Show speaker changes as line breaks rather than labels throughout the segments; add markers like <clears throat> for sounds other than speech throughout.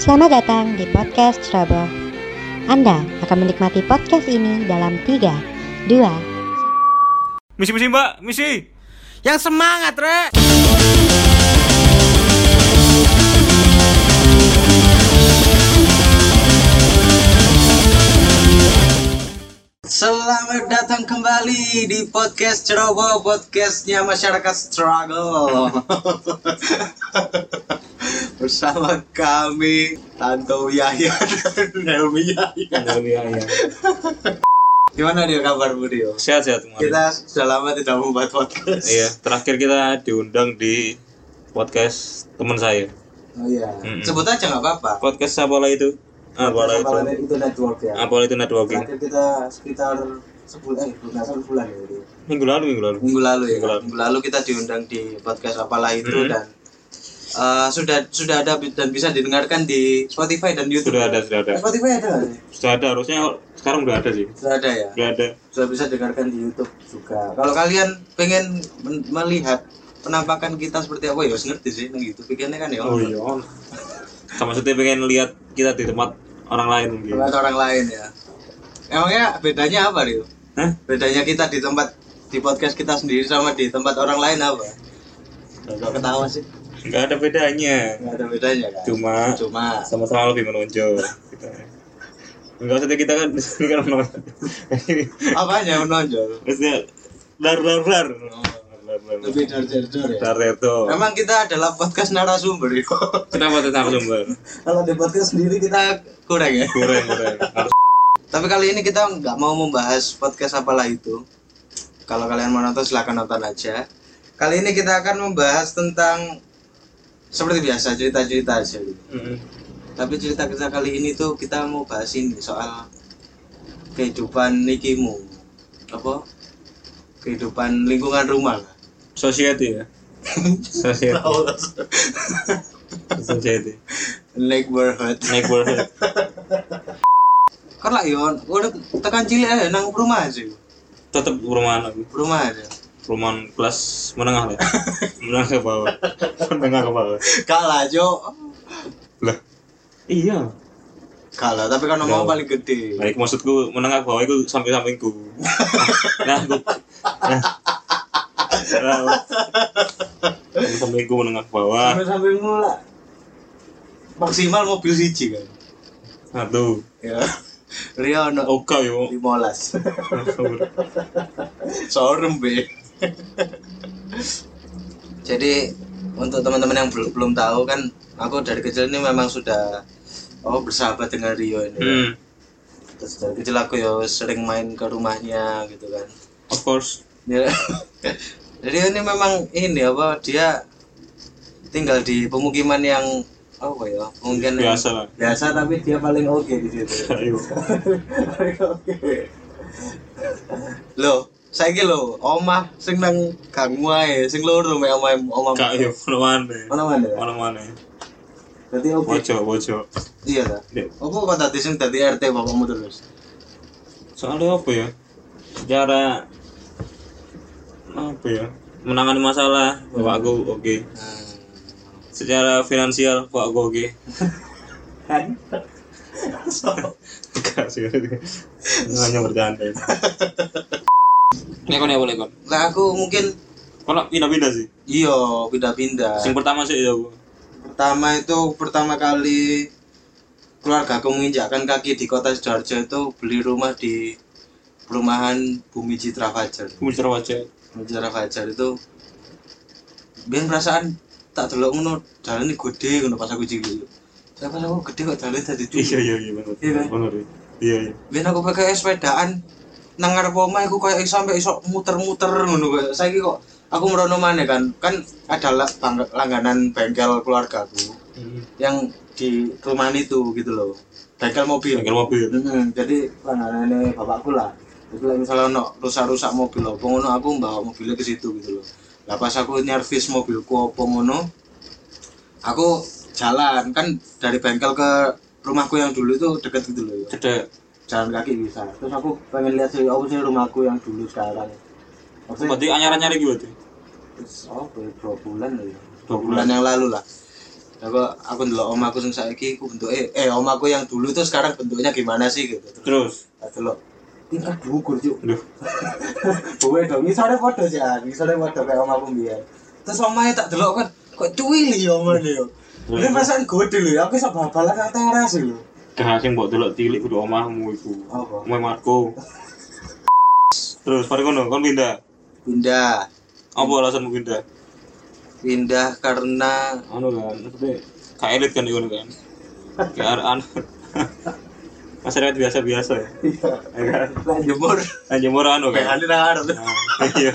Selamat datang di podcast Trouble. Anda akan menikmati podcast ini dalam 3, 2,
Misi misi mbak, misi.
Yang semangat, Rek. Selamat datang kembali di podcast Ceroboh, podcastnya masyarakat struggle. <laughs> Bersama kami Tanto Yahya dan Helmi Yahya. Gimana dia kabar Dio?
Sehat sehat kemarin.
Kita sudah lama tidak membuat podcast.
Iya, terakhir kita diundang di podcast teman saya.
Oh iya.
Mm-mm.
Sebut aja nggak apa-apa.
Podcast apalah itu? Apalah
Kalau
itu? Iya.
itu network ya.
Apalah itu networking?
Terakhir kita sekitar sebulan, eh bukan satu bulan ya. Gitu.
Minggu lalu minggu lalu.
Minggu lalu ya.
Minggu lalu. Mm-hmm.
Minggu lalu kita diundang di podcast apalah itu
Mm-mm.
dan eh, sudah sudah ada bi- dan bisa didengarkan di Spotify dan YouTube.
Sudah ada sudah ada.
Spotify ada nggak sih?
Sudah ada harusnya sekarang udah ada sih.
Sudah ada ya.
Udah ada.
Sudah bisa dengarkan di YouTube.
Juga.
Kalau kalian pengen men- melihat penampakan kita seperti apa ya harus ngerti sih nang gitu pikirnya kan ya
Oh,
orang
iya. Sama maksudnya pengen lihat kita di tempat orang lain mungkin.
orang lain ya emangnya bedanya apa Rio?
Hah?
bedanya kita di tempat di podcast kita sendiri sama di tempat orang lain apa Kalau ketawa sih
Enggak ada bedanya.
nggak ada bedanya kan
Cuma
cuma
sama-sama lebih menonjol. Gitu. Enggak maksudnya kita kan <laughs> ini kan menonjol.
apanya menonjol
Maksudnya dar dar dar.
lebih dari jor ya
Dar itu.
Emang kita adalah podcast narasumber ya?
Kenapa tentang sumber?
Kalau di podcast sendiri kita
kita kurang ya.
Kurang kurang. Harus
Tapi kali ini kita nggak mau membahas podcast apalah itu. Kalau kalian mau nonton silahkan nonton aja. Kali ini kita akan membahas tentang seperti biasa cerita-cerita aja. gitu. Tapi cerita kita kali ini tuh kita mau bahas ini soal kehidupan Nikimu apa kehidupan lingkungan rumah lah.
society ya. Society. Society.
neighborhood
Neighborhood.
kan lah yon udah tekan cilik aja nang rumah aja
Tetap perumahan aku.
rumah aja
Perumahan kelas menengah lah. Menengah ke bawah. Menengah ke bawah.
kalah jo
Lah. Iya.
kalah tapi kan
Jauh.
ngomong paling gede
Baik maksudku menengah ke bawah itu samping sampingku. Nah, aku. Nah. Nah. Sampingku menengah ke
Ah.
bawah.
sampai sampai mula.
maksimal mobil siji kan
Satu.
ya Rio no
Oka yo.
limolas <laughs> sorem be jadi untuk teman-teman yang belum belum tahu kan aku dari kecil ini memang sudah oh bersahabat dengan Rio ini
hmm,
terus dari kecil aku ya sering main ke rumahnya gitu kan
of course.
Ya. <laughs> Jadi ini memang ini apa dia tinggal di pemukiman yang apa ya? Mungkin
Biasa lah.
biasa tapi dia paling oke di
<laughs>
situ.
Ayo.
Paling oke. Loh, saiki lho omah sing nang gangmu ae, sing loro mek omah omah.
Kak yo
Mana
mana mana?
mana? ya?
Mana mana?
Berarti oke.
Bojo bojo.
Iya ta.
Dek,
Apa kok tadi sing dadi RT bapakmu terus?
Soalnya apa ya? Cara apa ya? Menangani masalah bapakku oke. Hmm. Secara finansial bapakku oke.
Kan?
Enggak sih. Hanya bercanda. Lekon ya boleh kon.
Lah aku mungkin
Kalau pindah-pindah sih.
iya pindah-pindah.
Yang pertama sih ya aku.
pertama itu pertama kali keluarga aku menginjakkan kaki di kota Sidoarjo itu beli rumah di perumahan Bumi Citra Fajar
Bicara wajah.
Bumi Citra Fajar itu biar perasaan tak delok ngono jalan ini gede ngono pas aku cilik tapi pas aku gede kok jalan tadi
Iya
tuh
iya iya benar.
Iya, kan?
Benar. iya. Iya iya.
biar aku pakai sepedaan nang ngarep omah aku kayak sampai iso muter-muter ngono kayak saiki kok aku merono maneh kan kan ada la- tangga- langganan bengkel keluargaku yang di rumahan itu gitu loh bengkel mobil
Bengkel Iya, mobil.
Mm-mm. jadi
Langganannya bapakku lah.
itu lah misalnya ono rusak-rusak mobil apa ngono aku bawa mobilnya ke situ gitu loh lah pas aku nyervis mobilku apa ngono aku jalan kan dari bengkel ke rumahku yang dulu itu deket gitu loh ya.
Cedek.
jalan kaki bisa
Terus aku pengen lihat sih, apa sih rumahku yang dulu sekarang. Maksudnya,
Berarti anyar-anyar gitu berarti.
terus, oh, dua bulan lah ya.
Dua
bulan yang lalu lah aku aku ndelok omaku sing saiki ku bentuke eh omaku yang dulu tuh sekarang bentuknya gimana sih gitu. Terus
terus
tak delok.
tingkat diukur
<laughs>
cuk
Duh.
Bowe dong, ngisore padha sih
ah,
An, ngisore padha kayak omaku mbiyen.
Terus omae tak delok kan kok cuwili ya omane yo. Ini perasaan gede lho, aku iso babalan nang teras lho.
Dah sing mbok delok cilik kudu omahmu iku.
Apa?
Omah Marco. Terus mari kono kon pindah.
Pindah,
Apa alasanmu pindah?
pindah karena
Anu kan, maksudnya kayak elit kan ngono kan. Kayak ar- <laughs> anu. Masyarakat biasa-biasa ya.
Iya.
Ya kan?
jemur
Anjemur anu kan.
pehane nang arep.
Nah, Iya.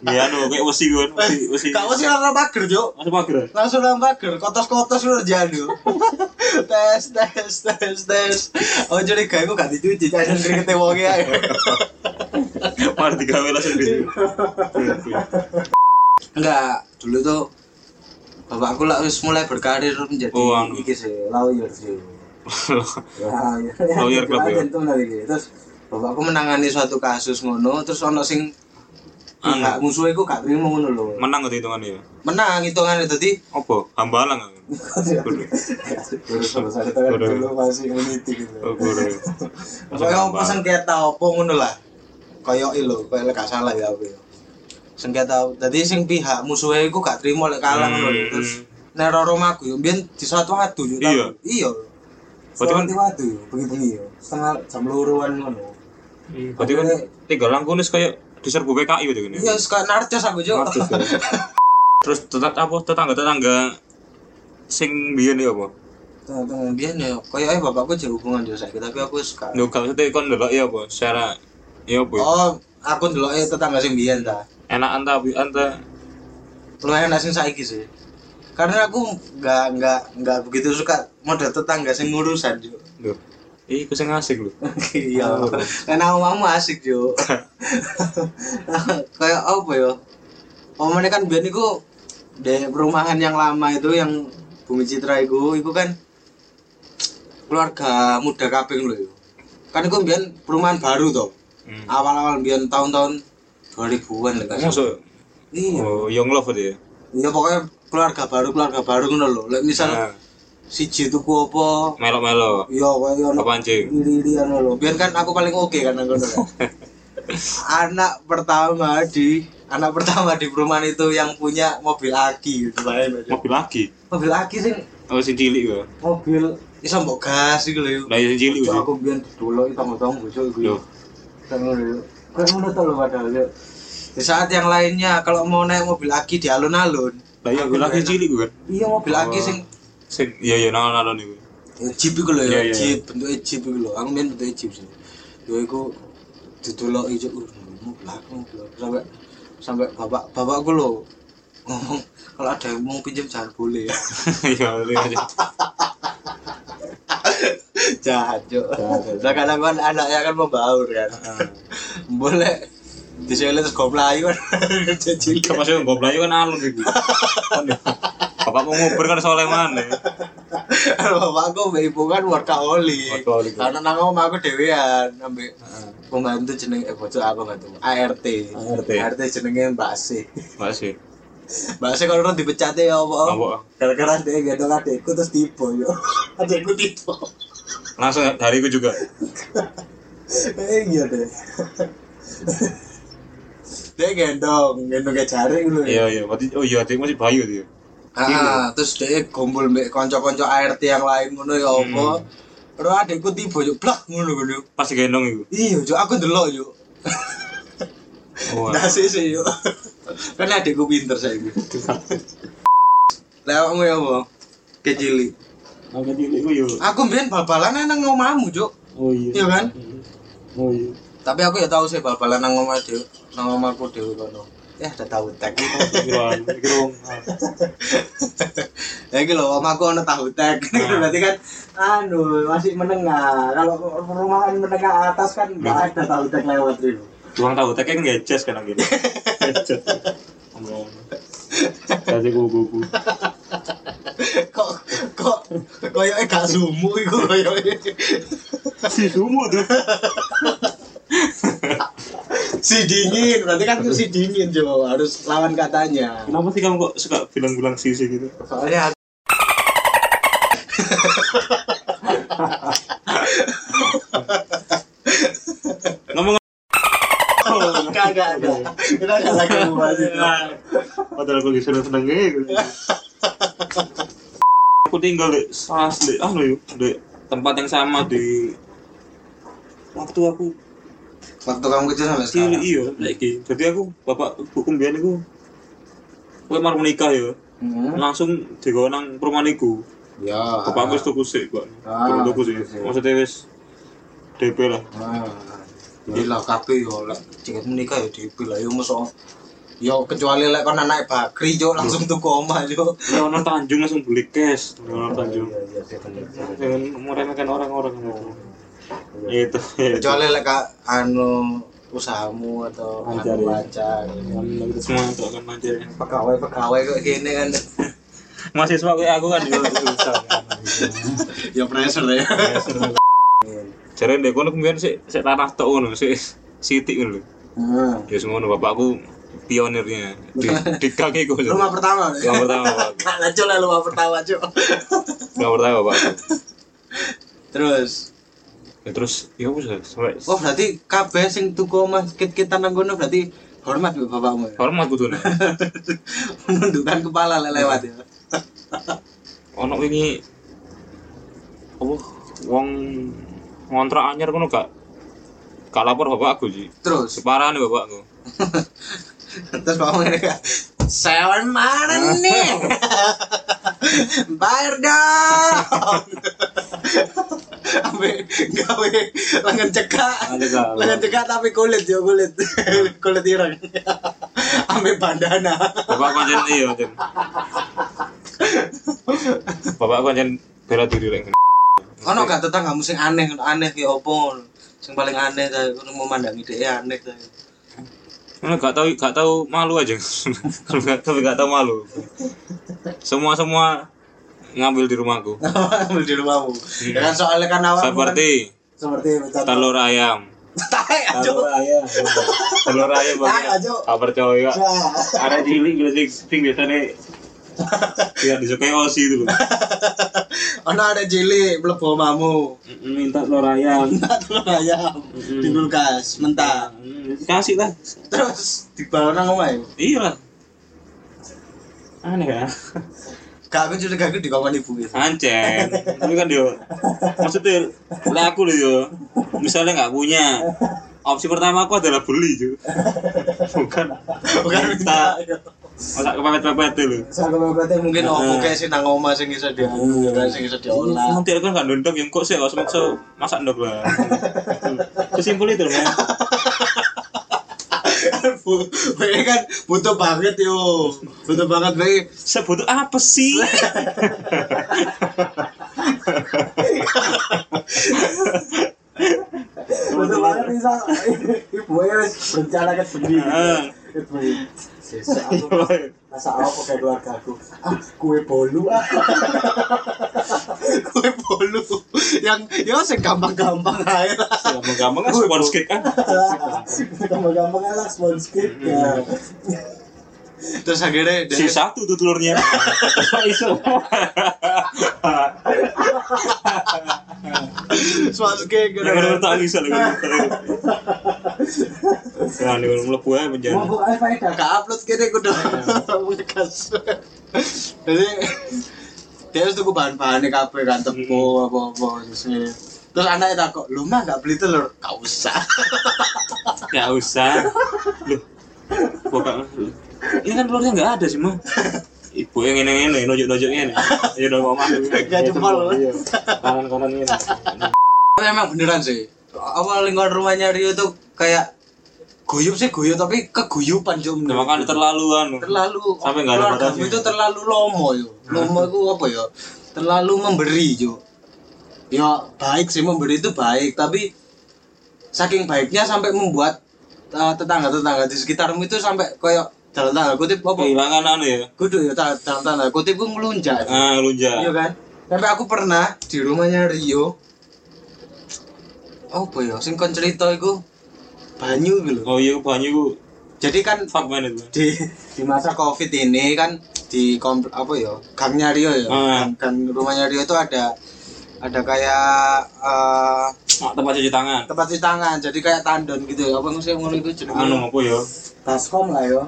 Ya anu kayak wesi kan, wesi wesi.
Gak usah nang pager, Cuk.
Masuk mager. ya?
langsung nang pager kotos-kotos lu jadu tes tes tes tes oh jadi gak aku gak dicuci jangan keringetnya wongi ae
Mari digawe langsung gitu.
enggak dulu tuh bapakku lah wis mulai berkarir menjadi
Oh, anu.
iki sih
Lawyer sih. Lawyer.
Lawyer club, ya?
Itu menarik ya. Terus
bapakku menangani suatu kasus ngono terus ono sing
Anu.
Enggak, musuhnya aku gak terima ngono lho
<laughs> Menang gitu hitungannya ya.
menang hitungannya tadi
Apa? Hambalang kan. Bener.
terus terus ada tangan
Waduh.
dulu masih meniti gitu.
Oh, gore.
Kaya apa sengketa apa ngono lah. Kaya ilo, kaya lek gak salah ya aku. ya. Sengketa dadi sing pihak musuhe iku gak trimo lek kalah ngono lho.
Hmm.
Terus neror omahku yo ya, mbiyen disatu adu
Iya.
yo. tapi- Iya.
Berarti kan-
Berarti waktu ya, bengi-bengi ya. Setengah jam luruan ngono.
Berarti kan tiga langkunis kayak diserbu PKI gitu kan. ya?
Iya suka narcos aku yo. <laughs>
Narsis, ya. Terus tetap apa tetangga-tetangga sing biyen ya apa?
Tengah-tengah mbiyen yo kaya eh bapakku jek hubungan yo saiki tapi aku suka.
Lho kalau sete kon ndelok ya apa? Secara ya apa? ya?
Oh, aku ndeloke tetangga sing mbiyen ta.
Enakan ta bi anta
Lumayan enak sing saiki sih. Karena aku nggak nggak nggak begitu suka model tetangga sing ngurusan yo.
lho. Iku sing asik lho.
<laughs> Iya,
Oh.
karena omamu asik jo. <laughs> Kayak apa ya? Omane kan biar niku di perumahan yang lama itu yang Bumi Citra itu, itu kan keluarga muda kaping lho. yo. Kan itu biar perumahan baru toh.
Hmm.
Awal-awal biar tahun-tahun 2000-an lah kan.
Masuk
Iya.
oh young love itu ya.
Iya pokoknya keluarga baru keluarga baru ngono lho. Lek misal
Nah,
siji tuku apa,
Melo-melo.
ya kaya ono
Apa anjing?
Iri-irian ngono.
Biar kan aku paling oke kan aku dulu. <laughs> anak pertama di anak pertama di perumahan itu yang punya mobil aki gitu lah ya.
Mobil lagi.
mobil aki sih
Oh sing cilik ya.
Mobil
bisa mbok gas gitu loh
Lah ya sing cilik
Cuk,
ya.
aku biar dulu itu tanggung cuk
Lho.
gue. Tanggung dulu. Kan ngono tuh lo padahal Cuk.
di saat yang lainnya kalau mau naik mobil aki di alun-alun
Lah ya mobil lagi cilik kan.
Iya mobil
mobil aki
Oh.
sing
Sing ya ya nang-nang niku.
ya, jeep gitu loh ya
Iya, iya.
jeep bentuknya jeep gitu loh aku main bentuknya jeep sih ya aku ditulok itu mobil aki mobil aki sampai sampai bapak bapakku loh ngomong kalau ada yang mau pinjam jangan boleh <laughs> ya
Ya <laughs> iya.
jahat cuk sekarang kan anaknya kan membaur kan boleh diselit terus gomlayu kan <laughs> jadi
Kita masih nggak belayu kan alun gitu. Bapak mau ngobrol kan soleh mana?
bapakku mbak ibu kan workaholic ya.
Workaholic.
karena nang omah aku dewean ambek pembantu jeneng eh bocah aku bantu ART
ART.
ART jenenge Mbak Si
Masih.
Mbak Si kalau orang dipecat ya apa
Apa?
Gara-gara dia gendong adekku terus tipe
ya.
yo.
adekku tipu
Langsung dariku juga.
Eh iya deh.
<laughs> dia gendong gendong kayak jaring lho
Iya iya. Berarti oh iya, dia masih bayu dia.
Ah, terus dia gombol mbek kanca-kanca ART yang lain ngono ya apa. Terus adekku tiba yo blak ngono ngono.
Pas gendong itu.
Iya, yo aku ndelok yo.
Wah.
Nah, sih sih yo. <laughs> kan adekku pinter saiki. Lah awakmu ya apa? Kecili.
Angkat cilik ku yo.
Aku mbiyen bal-balan nang omahmu, Cuk.
Oh
Iya kan?
Oh iya.
Tapi aku ya tau sih bal-balan nang omah dhewe, nang omahku dhewe kono. Ya udah tahu tek.
Pikiran, pikiran.
Ya iki lho omahku ono tahu <laughs> tek. Berarti kan
Anu masih menengah. Kalau perumahan menengah atas kan nggak ada tahu tek lewat dulu.
Tuang tahu tak kan ngeces kan
<laughs>
gitu. Ngeces. Ngomong. Tadi gugu.
kok kok koyoke gak sumu iku koyoke
Si sumo tuh.
si dingin berarti kan itu si dingin jo harus lawan katanya
Kenapa sih kamu kok suka bilang-bilang sisi gitu?
soalnya
Ngomong Oh,
kagak ada kita nggak lagi membahas itu
padahal aku disuruh seneng gitu. aku tinggal di sas di ah yuk di tempat yang sama di waktu aku
waktu kamu kecil sampai
kecil
sekarang
iyo lagi jadi aku bapak hukum biar aku aku mau menikah ya
Hmm.
langsung digawa nang perumahan iku
ya
bapakku wis tuku sik kok
Ah,
Turun tuku sik
tuku sik.
maksudnya wis DP lah
Ah, jadi lah kabeh yo lek tiket menikah yo dipilih yo mosok yo kecuali lek kon anak bakri yo langsung tuku omah yo
ya orang Tanjung langsung beli cash orang Tanjung
Iya, iya, bener.
jangan meremehkan orang-orang itu
kecuali lek ka- anu usahamu atau
Lancar,
anu
iya.
ya.
lancar
itu semua itu akan lancar
Pegawai, pegawai.
pegawai kok gini kan
mahasiswa kayak aku kan juga susah
ya pressure ya
jadi deh kono kemudian sih sih tanah tuh kono sih sitik kono
Hmm.
ya semua kono. bapakku pionirnya di di kaki gue
rumah pertama ya
yang pertama pak
kalah cok lah rumah pertama cok
yang pertama pak
terus
ya, terus ya wes lah, sampai
oh berarti kabeh sing tuku omah kita nang kono berarti hormat be bapakmu ya
hormat gue tuh
menundukkan kepala lek lewat ya
ono wingi apa wong ngontrak anyar kono gak gak lapor bapakku sih
terus
separah nih bapakku
terus bapakmu ngene kan sewan mana nih bayar dong ambe gawe lengan cekak
cekak.
lengan cekak tapi kulit yo kulit kulit ireng ambe bandana
bapak kancan iya kancan bapak kancan bela diri lek ngene.
Ono gak tetanggamu sing aneh, aneh ya opo? Sing paling aneh ta kono memandangi dhek e aneh ta.
Ngono gak tau gak tau malu aja <laughs> Kalau gak- tapi gak tau malu semua semua ngambil di rumahku
Ambil di rumahmu. Ya kan soalnya kan awak
Iya. seperti
Seperti bercanda.
<laughs>
telur ayam
taek aja.
ayam.
telur ayam
Taek
bapaknya.
aja.
gak percaya
Nah,
ada cilik gitu sih sing biasanya tidak disukai osi itu loh
Ono ada jeli mlebu omamu.
minta telur ayam
Telur ayam di kulkas mentah.
Mm, kasih lah
Terus dibawa nang omahe.
iya lah aneh ya
Gak aku curiga aku dikongkon ibu gitu.
Ah, ancen tapi kan yo maksudnya lah aku loh yo misalnya nggak punya opsi pertama aku adalah beli yo bukan
<laughs> Bukan minta.
masak kepepet pepet lo
Saya kalau berarti mungkin
Mungkin opo Nah, kayak sih nang omah sing iso dianu, ya kan sing iso diolah. <laughs>
nanti aku nggak nunduk yang kok sih kalau semaksa masak ndok lah kesimpul itu loh
Bu, <laughs> ini kan butuh banget yo. Butuh banget bae.
sebutuh apa sih
Betul banget bisa. Ibu ya wis berencana ke sendiri.
Ah.
Heeh.
Itu ya. Sesa aku masa apa kayak keluarga aku. Ah, kue bolu ah.
<laughs> kue bolu yang ya sing gampang-gampang aja lah
gampang kan sponge cake kan
Gampang-gampang lah sponge cake ya.
terus akhirnya
si
dia
satu tuh telurnya iso
swas cake gitu.
bener-bener tak iso lagi nah ini belum melebu aja penjara
Mau buka apa ya?
Iya. gak upload kene kudu Iya. <laughs> bekas jadi dia harus tuku bahan-bahannya kabeh kan tepung apa-apa terus ini. terus anaknya takut lu mah gak beli telur gak usah
gak usah loh bukan ini kan telurnya gak ada sih mah ibu yang ini ini nojok nojok ini ya udah mau mandi
Gak jempol.
kanan kanan ini
<laughs> Tapi emang beneran sih awal lingkungan rumahnya Rio tuh kayak guyup sih guyup tapi keguyupan cuma
Nah, makanya terlaluan
terlalu
Sampai nggak ada
keluargamu
batasnya.
itu terlalu lomo yo lomo itu apa ya terlalu memberi yo ya baik sih memberi itu baik tapi saking baiknya sampai membuat uh, tetangga-tetangga di sekitarmu itu sampai kayak dalam tanda kutip apa
kehilangan anu ya
kudu ya ta- dalam tanda kutip gue melunjak
ah
iya
lunja
kan tapi aku pernah di rumahnya Rio apa ya sing kon cerita iku banyu gitu
oh
loh.
iya banyu itu
Jadi kan
fuck man itu
di
di masa
masa covid ini kan di kom- apa ya gangnya Rio ya
Ah.
gang, gang rumahnya Rio itu ada ada kayak eh,
Nah, tempat cuci tangan
tempat cuci tangan jadi kayak tandon gitu ya apa sih ngono itu jenenge
anu apa ya
taskom lah yo
ya.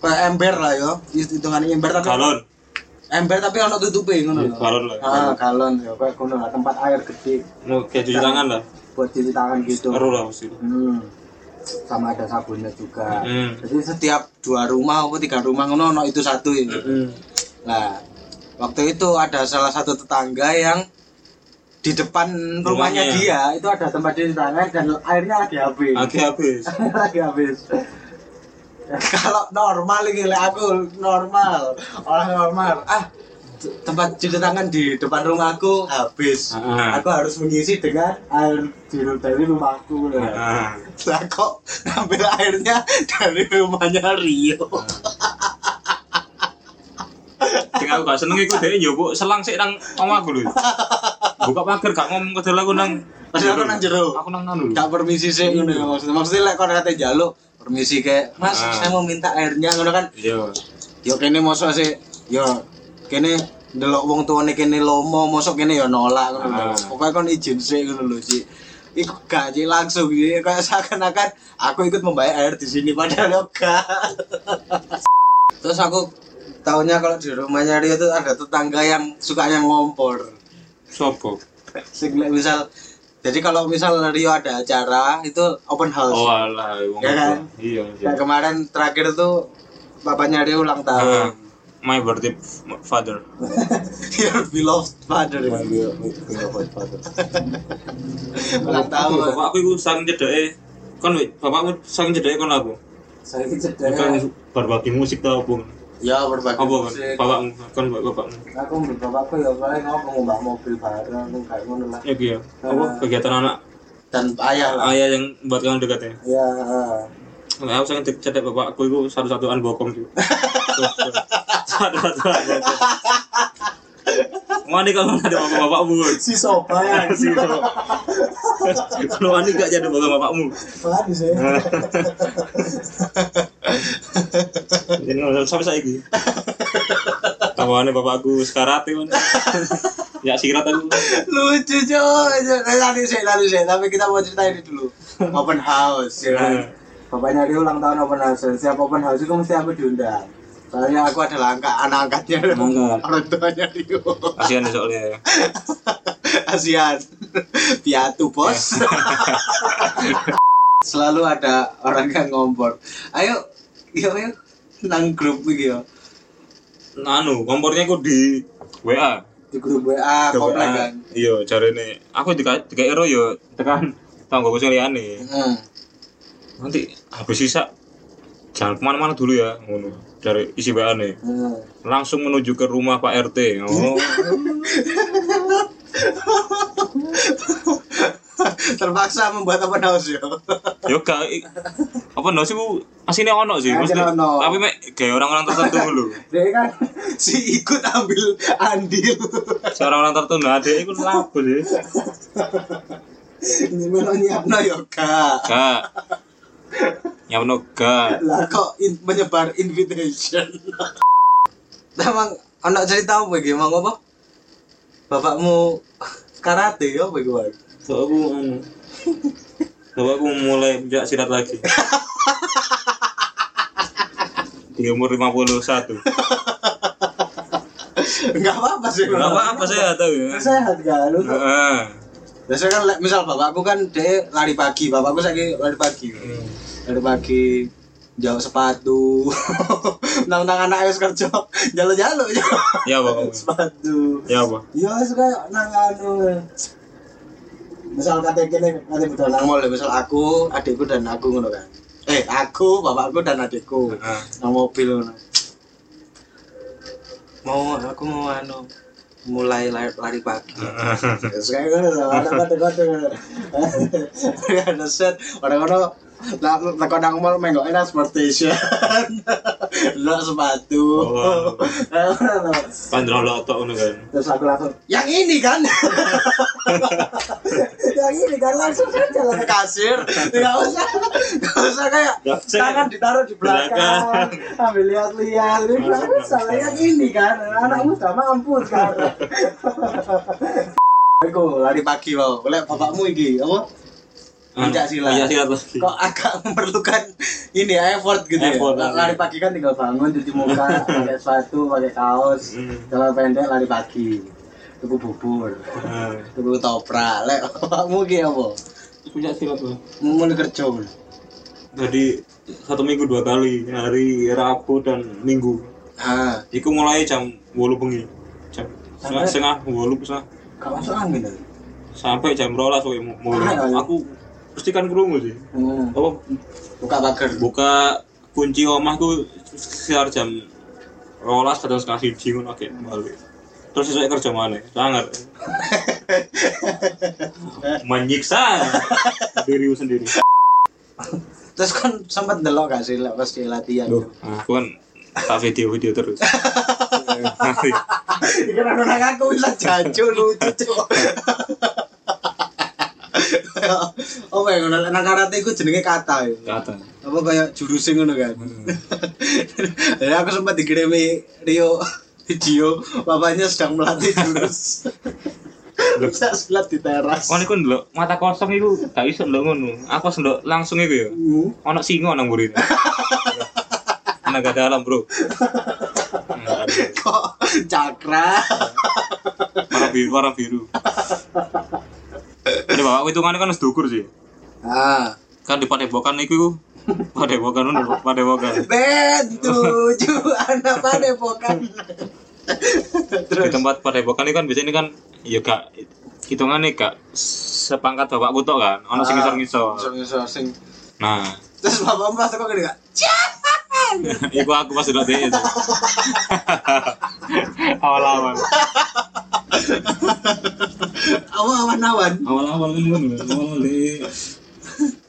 kayak ember lah yo hitungan ember tapi
galon
ember tapi ono tutupe ngono lho.
galon lah
ah galon
ya kayak kono lah tempat air gede
Nah, kayak cuci tangan lah
buat cuci tangan gitu
baru lah pasti
hmm. sama ada sabunnya juga
hmm.
jadi set-
setiap dua rumah apa tiga rumah ngono ono itu satu ya. Nah, waktu itu ada salah satu tetangga yang di depan rumahnya
Rumahnya.
dia
itu ada tempat cuci tangan dan airnya lagi habis
<laughs>
Oke habis
lagi habis
kalau normal ini lek aku normal orang normal ah t- tempat cuci tangan di depan rumahku habis
Ah.
aku harus mengisi dengan
air jeruk dari rumahku lah
Ah.
lah kok ngambil airnya <laughs> dari rumahnya Rio
Sing aku gak seneng iku dhek yo kok selang sik nang omahku lho. Buka pagar gak ngomong ke aku nang
Padahal aku nang jero.
Aku nang anu lho.
gak permisi sih ngono ya maksudnya maksudnya lek kon kate njaluk permisi kayak mas
Ah.
saya mau minta airnya ngono kan
Iya.
yo kene mosok sih yo kene ndelok wong tuane kene lomo mosok kene yo nolak ngono lho.
Ah.
Pokoke kon izin sik ngono lho Ci. Iku gak Ci, langsung iki kayak seakan-akan aku ikut membayar air di sini padahal yo gak. <laughs> Terus aku tahunya kalau di rumahnya Rio itu ada tetangga yang sukanya ngompor.
Sopo?
Sing lek misal jadi kalau misal Rio ada acara itu open house.
Oh alah wong.
Ya kan?
itu. Iya. iya.
Kayak kemarin terakhir tuh bapaknya Rio ulang
Ah,
<laughs> tahun.
My birthday father.
Your beloved father. <laughs> ulang tahun
Bapakku iku saking cedeke kon weh, bapakmu saking cedeke kon aku.
saya cedek
Bukan berbagi musik tau apa?
ya berbagai
Apa kon?
kan? musik.
Bapakmu kon bapak- bapakmu.
aku ambil bapakku ya paling aku ngubah mobil bareng kayak ngono lah
Ya iya.
Ah.
Apa kegiatan anak
dan ayah lah
ayah yang buat kamu dekat ya?
ya
Nah, aku sangat cedek bapakku itu satu-satuan bokong juga. satu-satuan bokong. Wani kalau ada bapak bapakmu.
si sopan
<laughs> Sih, kalau- Kalau Wani gak jadi bapak bapakmu.
pelan sih
Jadi nggak sampai saya gitu. Tawaannya bapakku sekarat ya. Wani. Ya sirat aku.
lucu coy Eh, nanti sih nanti sih tapi kita mau cerita ini dulu open house ya
Hmm.
kan?
Nah,
bapaknya dia ulang tahun open house siap open house itu mesti aku diundang
soalnya aku adalah angka anak angkatnya
Monggo.
<laughs> orang tuanya Rio
Kasihan ya soalnya. ya.
kasihan piatu
<laughs>
bos selalu ada orang yang ngompor ayo yuk yuk nang grup gitu ya
Nah, Anu, kompornya aku di WA.
di grup WA komplek
WA.
kan
Iya, cari nih. Aku di di Ero yo tekan tanggung gue liane.
Hmm.
nanti habis sisa jangan kemana-mana dulu ya ngono dari isi WA nih
Hmm.
langsung menuju ke rumah Pak RT oh
<laughs> terpaksa membuat open house ya
yo gak i- apa no sih bu aslinya ono sih
Aslinya
maksudnya
ono.
tapi mek kayak orang-orang tertentu dulu
dia kan
<laughs> si ikut ambil andil
si orang-orang tertentu nah dia itu lagu sih
Nyimeno nyiapno ya gak
gak ya no gak
Lah kok in- menyebar invitation <laughs> Emang anak cerita apa iki Mang apa? Bapakmu karate ya apa iki Wan?
so aku anu so aku mulai jak silat lagi di umur 51
Enggak apa-apa sih
Gak
Bang.
apa-apa saya tahu ya
sehat kan lu tuh
Heeh.
Biasanya kan like, misal bapakku kan dia lari pagi Bapakku saya lari pagi Lari pagi jauh sepatu <laughs> Nang-nang anak wis kerja <laughs> Jalo-jalo <laughs> ya
ya bapak
sepatu
ya apa
ya suka nang anu misal kata kene kata budal
Nang mall ya, misal aku, adikku dan aku ngono kan Eh aku, bapakku dan adikku
Heeh.
nang mobil ngono. mau aku mau anu mulai lari, lari <laughs> pagi terus kayak
kata kata
anu ada set orang orang
Lah tekan nang mall menggo
<laughs>
transportation.
Lo sepatu.
Oh, pandro lotok ngono kan.
Terus aku langsung,
Yang ini kan
<laughs> yang ini kan langsung saja lah.
ke kasir. Enggak usah. Enggak usah kayak
Nggak usah.
Tangan ditaruh di belakang, ambil lihat-lihat. Ini
Nggak usah,
baru salah
nggak
yang ini kan, anak muda mampu sekarang.
Aku lari pagi wow. Oleh bapakmu iki apa? Pencaksilat.
Iya silat lagi.
Kok agak <laughs> memerlukan ini effort gitu ya.
Effort.
Lari pagi kan tinggal bangun, cuci
<laughs>
muka, pakai sepatu, pakai kaos,
Hmm.
celana pendek, lari pagi. Tuku bubur.
Ah,
Dulu toprak. Lek <laughs> bapakmu iki apa?
Punya silat loh.
Mulai kerja. Bro.
Jadi satu minggu dua kali hari Rabu dan Minggu.
Ah,
Iku mulai jam wolu bengi. Jam setengah setengah wolu setengah
gak masuk angin lho.
sampai jam rolas wae mu- mulai.
Ah, iya.
Aku mesti kan kerungu sih. Oh,
Hmm.
Apa
Buka pagar.
buka kunci omahku sekitar jam rolas kadang setengah siji ngono oke balik. Terus sesuai kerja mana? Sangat menyiksa diriku sendiri.
Terus kan sempat delok gak sih lek pas dia latihan.
Duh, aku kan tak video-video terus.
Kenapa nang aku bisa jancuk lucu
<laughs>
cuk. Oh my god, nang karate iku jenenge kata ya.
Kata.
Apa kayak jurusnya ngono kan. <laughs> Ya aku sempat dikirimi Rio video bapaknya sedang melatih
<laughs>
jurus. Bisa silat di teras.
Oh niku ndelok mata kosong iku gak iso ndelok ngono. Aku ndelok langsung iku ya.
Hmm.
Ono singa nang mburi. Naga dalam, Bro. Nah, Nggak ada.
Kok cakra?
Warna biru, warna biru. Ini bapak hitungannya kan harus dukur sih.
Ah.
Kan di Padepokan iku Padepokan ono Padepokan.
Betuju
<laughs>
anak padepokan.
Di tempat Padepokan itu kan biasanya kan ya gak hitungannya gak sepangkat bapakku tok kan. Ono
Ah.
sing ngisor-ngisor.
Ngisor-ngisor sing.
Nah, <laughs>
Terus bapakmu pas kok gini gak?
Iku aku pas udah itu. <laughs> Awal-awal.
Awan-awan.
Awal-awal kan kan awal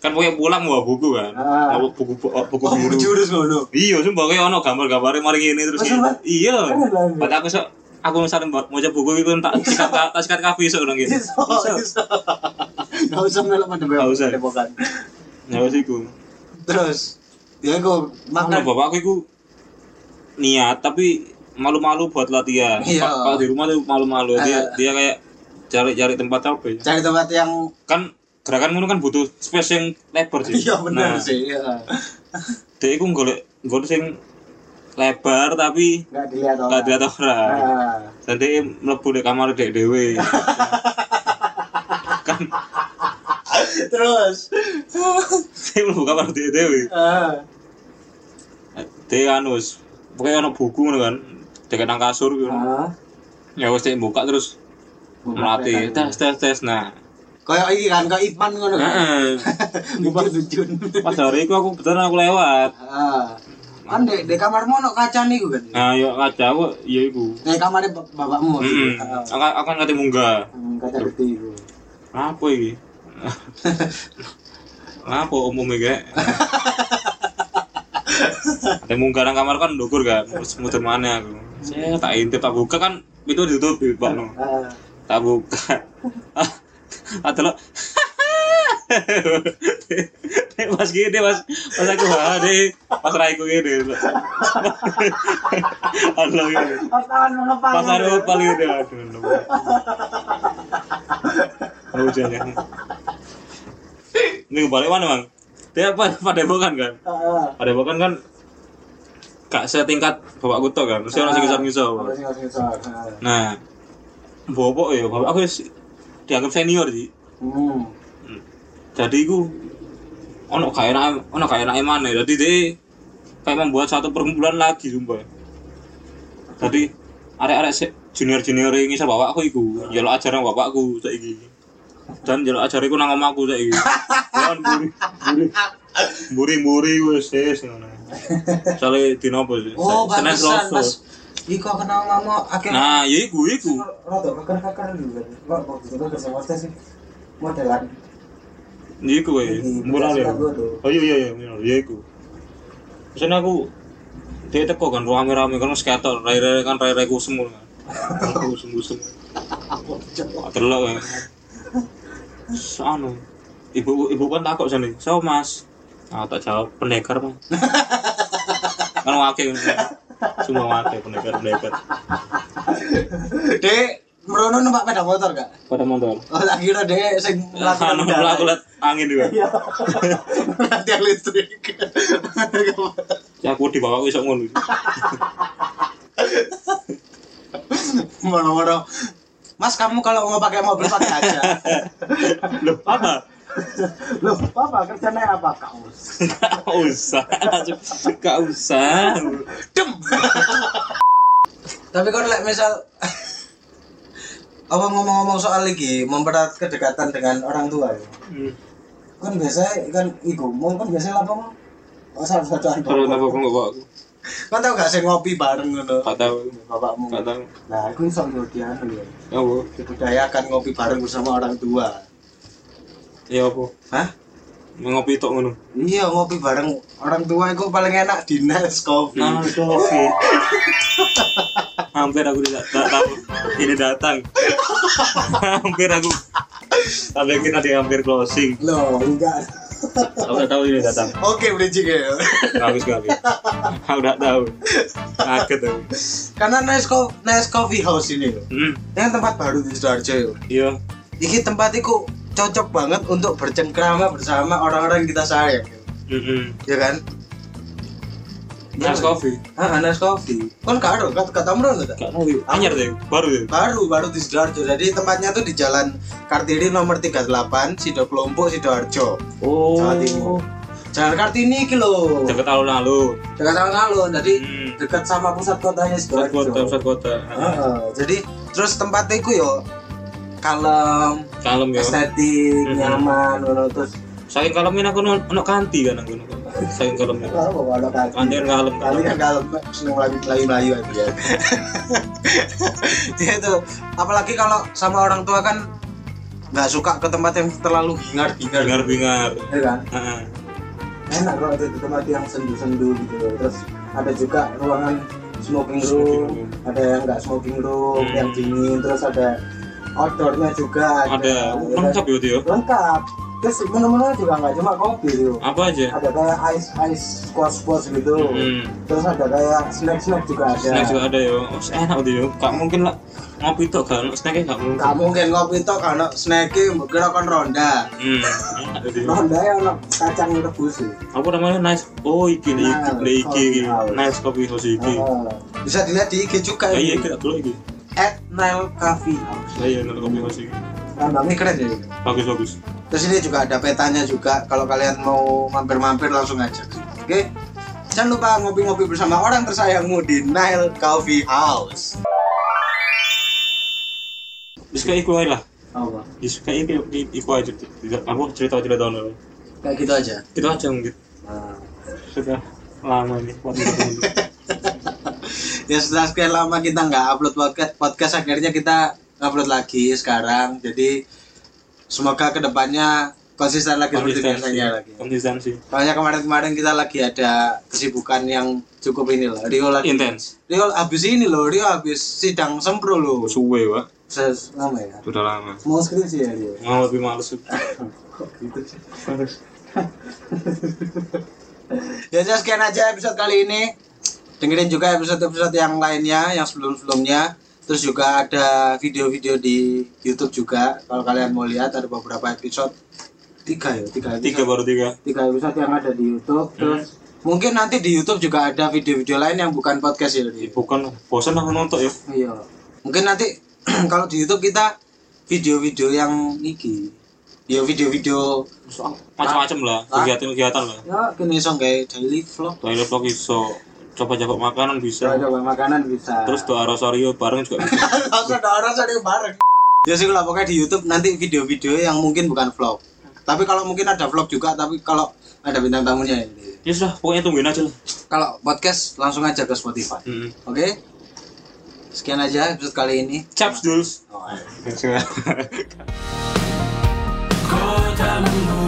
Kan pokoknya pulang bawa buku kan.
Ah.
Bawa buku buku, buku
Oh,
biru.
jurus ngono.
Iya, sumpah kayak ono gambar-gambarnya mari ngene terus.
Masa,
ngene.
Mas? Kan
Iya.
Keren banget.
Pas aku sok aku misalnya mau mau buku itu tak sikat tak sikat kafe sok dong gitu.
Iso, iso. Gak usah melok pada bebek.
Gak usah.
Depokan.
Ya wis iku.
Terus ya kok
Nah,
makan
bapakku iku niat tapi malu-malu buat latihan.
Iya.
Pak- Kalau di rumah tuh malu-malu dia
Eh.
dia kayak cari-cari tempat apa ya.
cari tempat yang
kan gerakan ngono kan butuh space yang lebar sih.
iya
Nah,
benar sih. Iya.
Dia iku golek golek sing lebar tapi
Enggak dilihat
Ah.
orang.
gak dilihat orang.
Nah.
Ah.
Dan dia mlebu di kamar dek
<laughs>
dhewe. kan
Terus
dia mlebu kamar dek dhewe.
ah,
Dia anu wis pokoke ono buku ngono kan. Dekat nang kasur gitu.
Ah.
Ya wis dia buka terus
Buka
melatih
kelihatan.
tes tes tes nah.
kayak iki kan kayak Ipan ngono <laughs> kan.
Heeh.
Ngubah lucu.
Pas hari itu aku betul aku lewat.
Ah. Kan di, di kamarmu ono kaca niku kan.
Nah, yo kaca aku ya iku.
Di kamarnya bap- bapakmu.
Heeh.
Ah.
Aku aku ngati munggah.
Hmm, Kaca gede itu.
apa ini? <laughs> apa umumnya kayak ada munggah nang kamar kan dukur kan terus muter mana aku saya tak intip tak buka kan itu ditutup di pak no
Ah.
tak buka Ah, atau lo pas gini pas pas aku wah deh pas raiku gini aduh gini
Pas tangan mengepal.
Pasar Opal itu aduh. lupa. Tahu hujannya. Ini balik mana bang? Dia apa? Padepokan kan?
Ah.
Padepokan kan gak setingkat bapak kuto kan? Terus orang sing ngisor-ngisor.
Orang sing ngisor-ngisor. Ah.
Nah, bobok ya, bapak aku wis dianggap senior sih.
Hmm.
Jadi aku ono gak enak, ono gak enak mana? Jadi dia kayak membuat satu perkumpulan lagi sumpah. Jadi arek-arek se- junior-junior ini ngisor bapakku iku, njaluk ajaran bapakku saiki. Dan njaluk ajaran iku nang omahku saiki. Kan buri buri buri wis wis ngono. Sale dino apa sih?
Oh,
Se- Senin,
pantesan
Selasa.
pas iku kenal lama akhirnya
Nah, ya iku iku.
Rada keker-keker dulu kan. Kok kok keker-keker sama tes sih. Modelan.
ya iku ya
Ini,
mural ya
penjelasan aku tuh.
oh iya iya iya mural ya iku Maksudnya aku dia teko kan rame-rame kan wis ketok rai-rai kan rai-rai kusem <laughs> kan aku kusem-kusem delok ya Terus anu ibu ibu kan takut sini so mas ah tak jawab pendekar <laughs> mas kan wakil semua wakil pendekar pendekar
Dek, merono numpak sepeda motor gak?
pada motor
Oh, tak kira dek sing
anu aku liat angin juga
Iya.
Nanti yang listrik.
ya aku dibawa besok ngono
Moro-moro. Mas, kamu kalau mau pakai mobil pakai aja.
loh apa
Loh, apa kerjanya apa kaos?
Gak usah, gak usah.
Dem. Tapi kan like, misal apa ngomong-ngomong soal lagi mempererat kedekatan dengan orang tua ya. Kan biasa kan iku, mau kan biasa apa mau? Oh, salah satu
Kalau tak aku nggak aku,
Kan tau gak sih ngopi bareng ngono.
gak tahu,
Bapakmu.
gak tahu.
Nah, aku iso yo dianu ya.
Ya apa?
anu Dibudayakan ngopi bareng bersama orang tua.
Ya apa?
Hah?
Ngopi tok ngono.
Iya ngopi bareng orang tua itu paling enak di Nes Coffee.
Nah, kopi. Hampir aku tidak tak tahu ini datang. hampir aku. Sampai kita di hampir closing.
Loh, enggak.
Aku nggak tahu ini datang.
Oke, bridging ya.
Habis gak habis. Aku nggak tahu. Kaget aku.
Karena Nes Co- Nes Coffee House ini loh.
Hmm,
Yang tempat baru di Sidoarjo yo.
iya.
Iki tempat itu cocok banget untuk bercengkrama bersama orang-orang yang kita sayang.
Mm-mm.
Ya kan?
Nas kopi.
Ah, Nes Coffee. Kan karo, kata kata Amron tuh.
Gak tahu. Anyar deh. Baru deh.
Baru baru di Sidoarjo. Jadi tempatnya tuh di Jalan Kartini nomor 38, Sido Kelompok, Sidoarjo.
Oh.
Jawa Timur. Jalan Kartini iki loh.
Dekat alun-alun.
Dekat alun-alun. Jadi
Hmm.
Dekat sama pusat kotanya
pusat kota
Sidoarjo.
pusat kota
Heeh, jadi terus tempatnya iku yo kalem,
kalem ya
estetik,
Mhm.
nyaman, ngono terus.
saking kalemin aku no, no kanti kan aku no saking kalem ya.
Lah, kok ada kaki?
kanti kan kalem kan
Kali kan kalem seneng lagi melayu melayu aja.
<laughs>
Iya.
ya.
Ya
Dia itu apalagi kalau sama orang tua kan nggak suka ke tempat yang terlalu hingar hingar.
bingar bingar Ah,
Ya kan? enak kalau ada di tempat yang sendu-sendu gitu loh terus ada juga ruangan smoking
Smoking
room
room.
ada yang nggak smoking room
Hmm.
yang dingin terus ada outdoornya juga ya
ada
kan?
lengkap ya Tio
lengkap terus menu-menu juga nggak cuma kopi gitu
apa aja
ada kayak ice ice squash squash gitu
hmm.
terus ada kayak snack snack juga ada
snack juga ada ya oh, enak Tio gak mungkin lah ngopi tok kan snacknya gak mungkin
Gak mungkin ngopi itu karena snacky mungkin akan ronda.
hmm. enak Tio
Nah.
Ronda yang ada kacang rebus sih.
apa namanya nice oh iki iki
Nice
iki iki, iki.
coffee house.
nice coffee house iki
Nah.
Oh,
Bisa dilihat di IG juga
Ah, iya
ini.
kita dulu iki
At Nile Coffee House.
Ah, iya nice coffee house iki
Ini
rambangnya
keren
iya.
ya.
bagus bagus
Terus ini juga ada petanya juga kalau kalian mau mampir-mampir langsung aja. Oke. Jangan lupa ngopi-ngopi bersama orang tersayangmu di Nile Coffee House.
bisa kayak iku aja lah
apa
bisa kayak iku iku aja tidak apa cerita cerita dong
Kayak gitu aja.
kita aja mungkin
nah,
sudah lama ini podcast
Ya setelah sekian lama kita nggak upload podcast, podcast akhirnya kita upload lagi sekarang. Jadi semoga kedepannya konsisten lagi seperti
konsistensi
biasanya lagi.
konsistensi
Soalnya kemarin-kemarin kita lagi ada kesibukan yang cukup ini loh. Rio lagi.
intens
Rio habis ini loh. Rio habis sidang sempro loh.
suwe pak
Ses-
lama ya
sudah lama
mau skripsi ya dia
mau lebih males
kok gitu sih
<laughs> Ya udah, sekian aja episode kali ini. Dengerin juga episode-episode yang lainnya yang sebelum-sebelumnya. Terus juga ada video-video di YouTube juga. Kalau kalian mau lihat ada beberapa episode tiga ya, tiga episode.
tiga baru tiga
tiga episode yang ada di YouTube terus
Mungkin nanti di YouTube juga ada video-video lain yang bukan podcast ya. Ri.
bukan bosan aku nonton ya
iya
Mungkin nanti <clears throat> kalau di YouTube kita video-video yang iki. Ya video-video
macam-macam lah
Ah.
kegiatan-kegiatan lah
ya kini iso kayak daily vlog.
toilet vlog iso coba-coba makanan
coba
bisa
coba makanan bisa
terus
<laughs>
doa rosario bareng juga bisa
Langsung ada orang sering bareng. Ya sih lah pokoknya di YouTube nanti video-video yang mungkin bukan vlog. Tapi kalau mungkin ada vlog juga, tapi kalau ada bintang tamunya ya.
ya sudah pokoknya tungguin aja lah Hmm.
Kalau podcast langsung aja ke Spotify.
Mm-mm.
Hmm.
Oke? Sekian aja episode kali ini.
caps dules
Oh, ayo.
Sudah.
Kotamu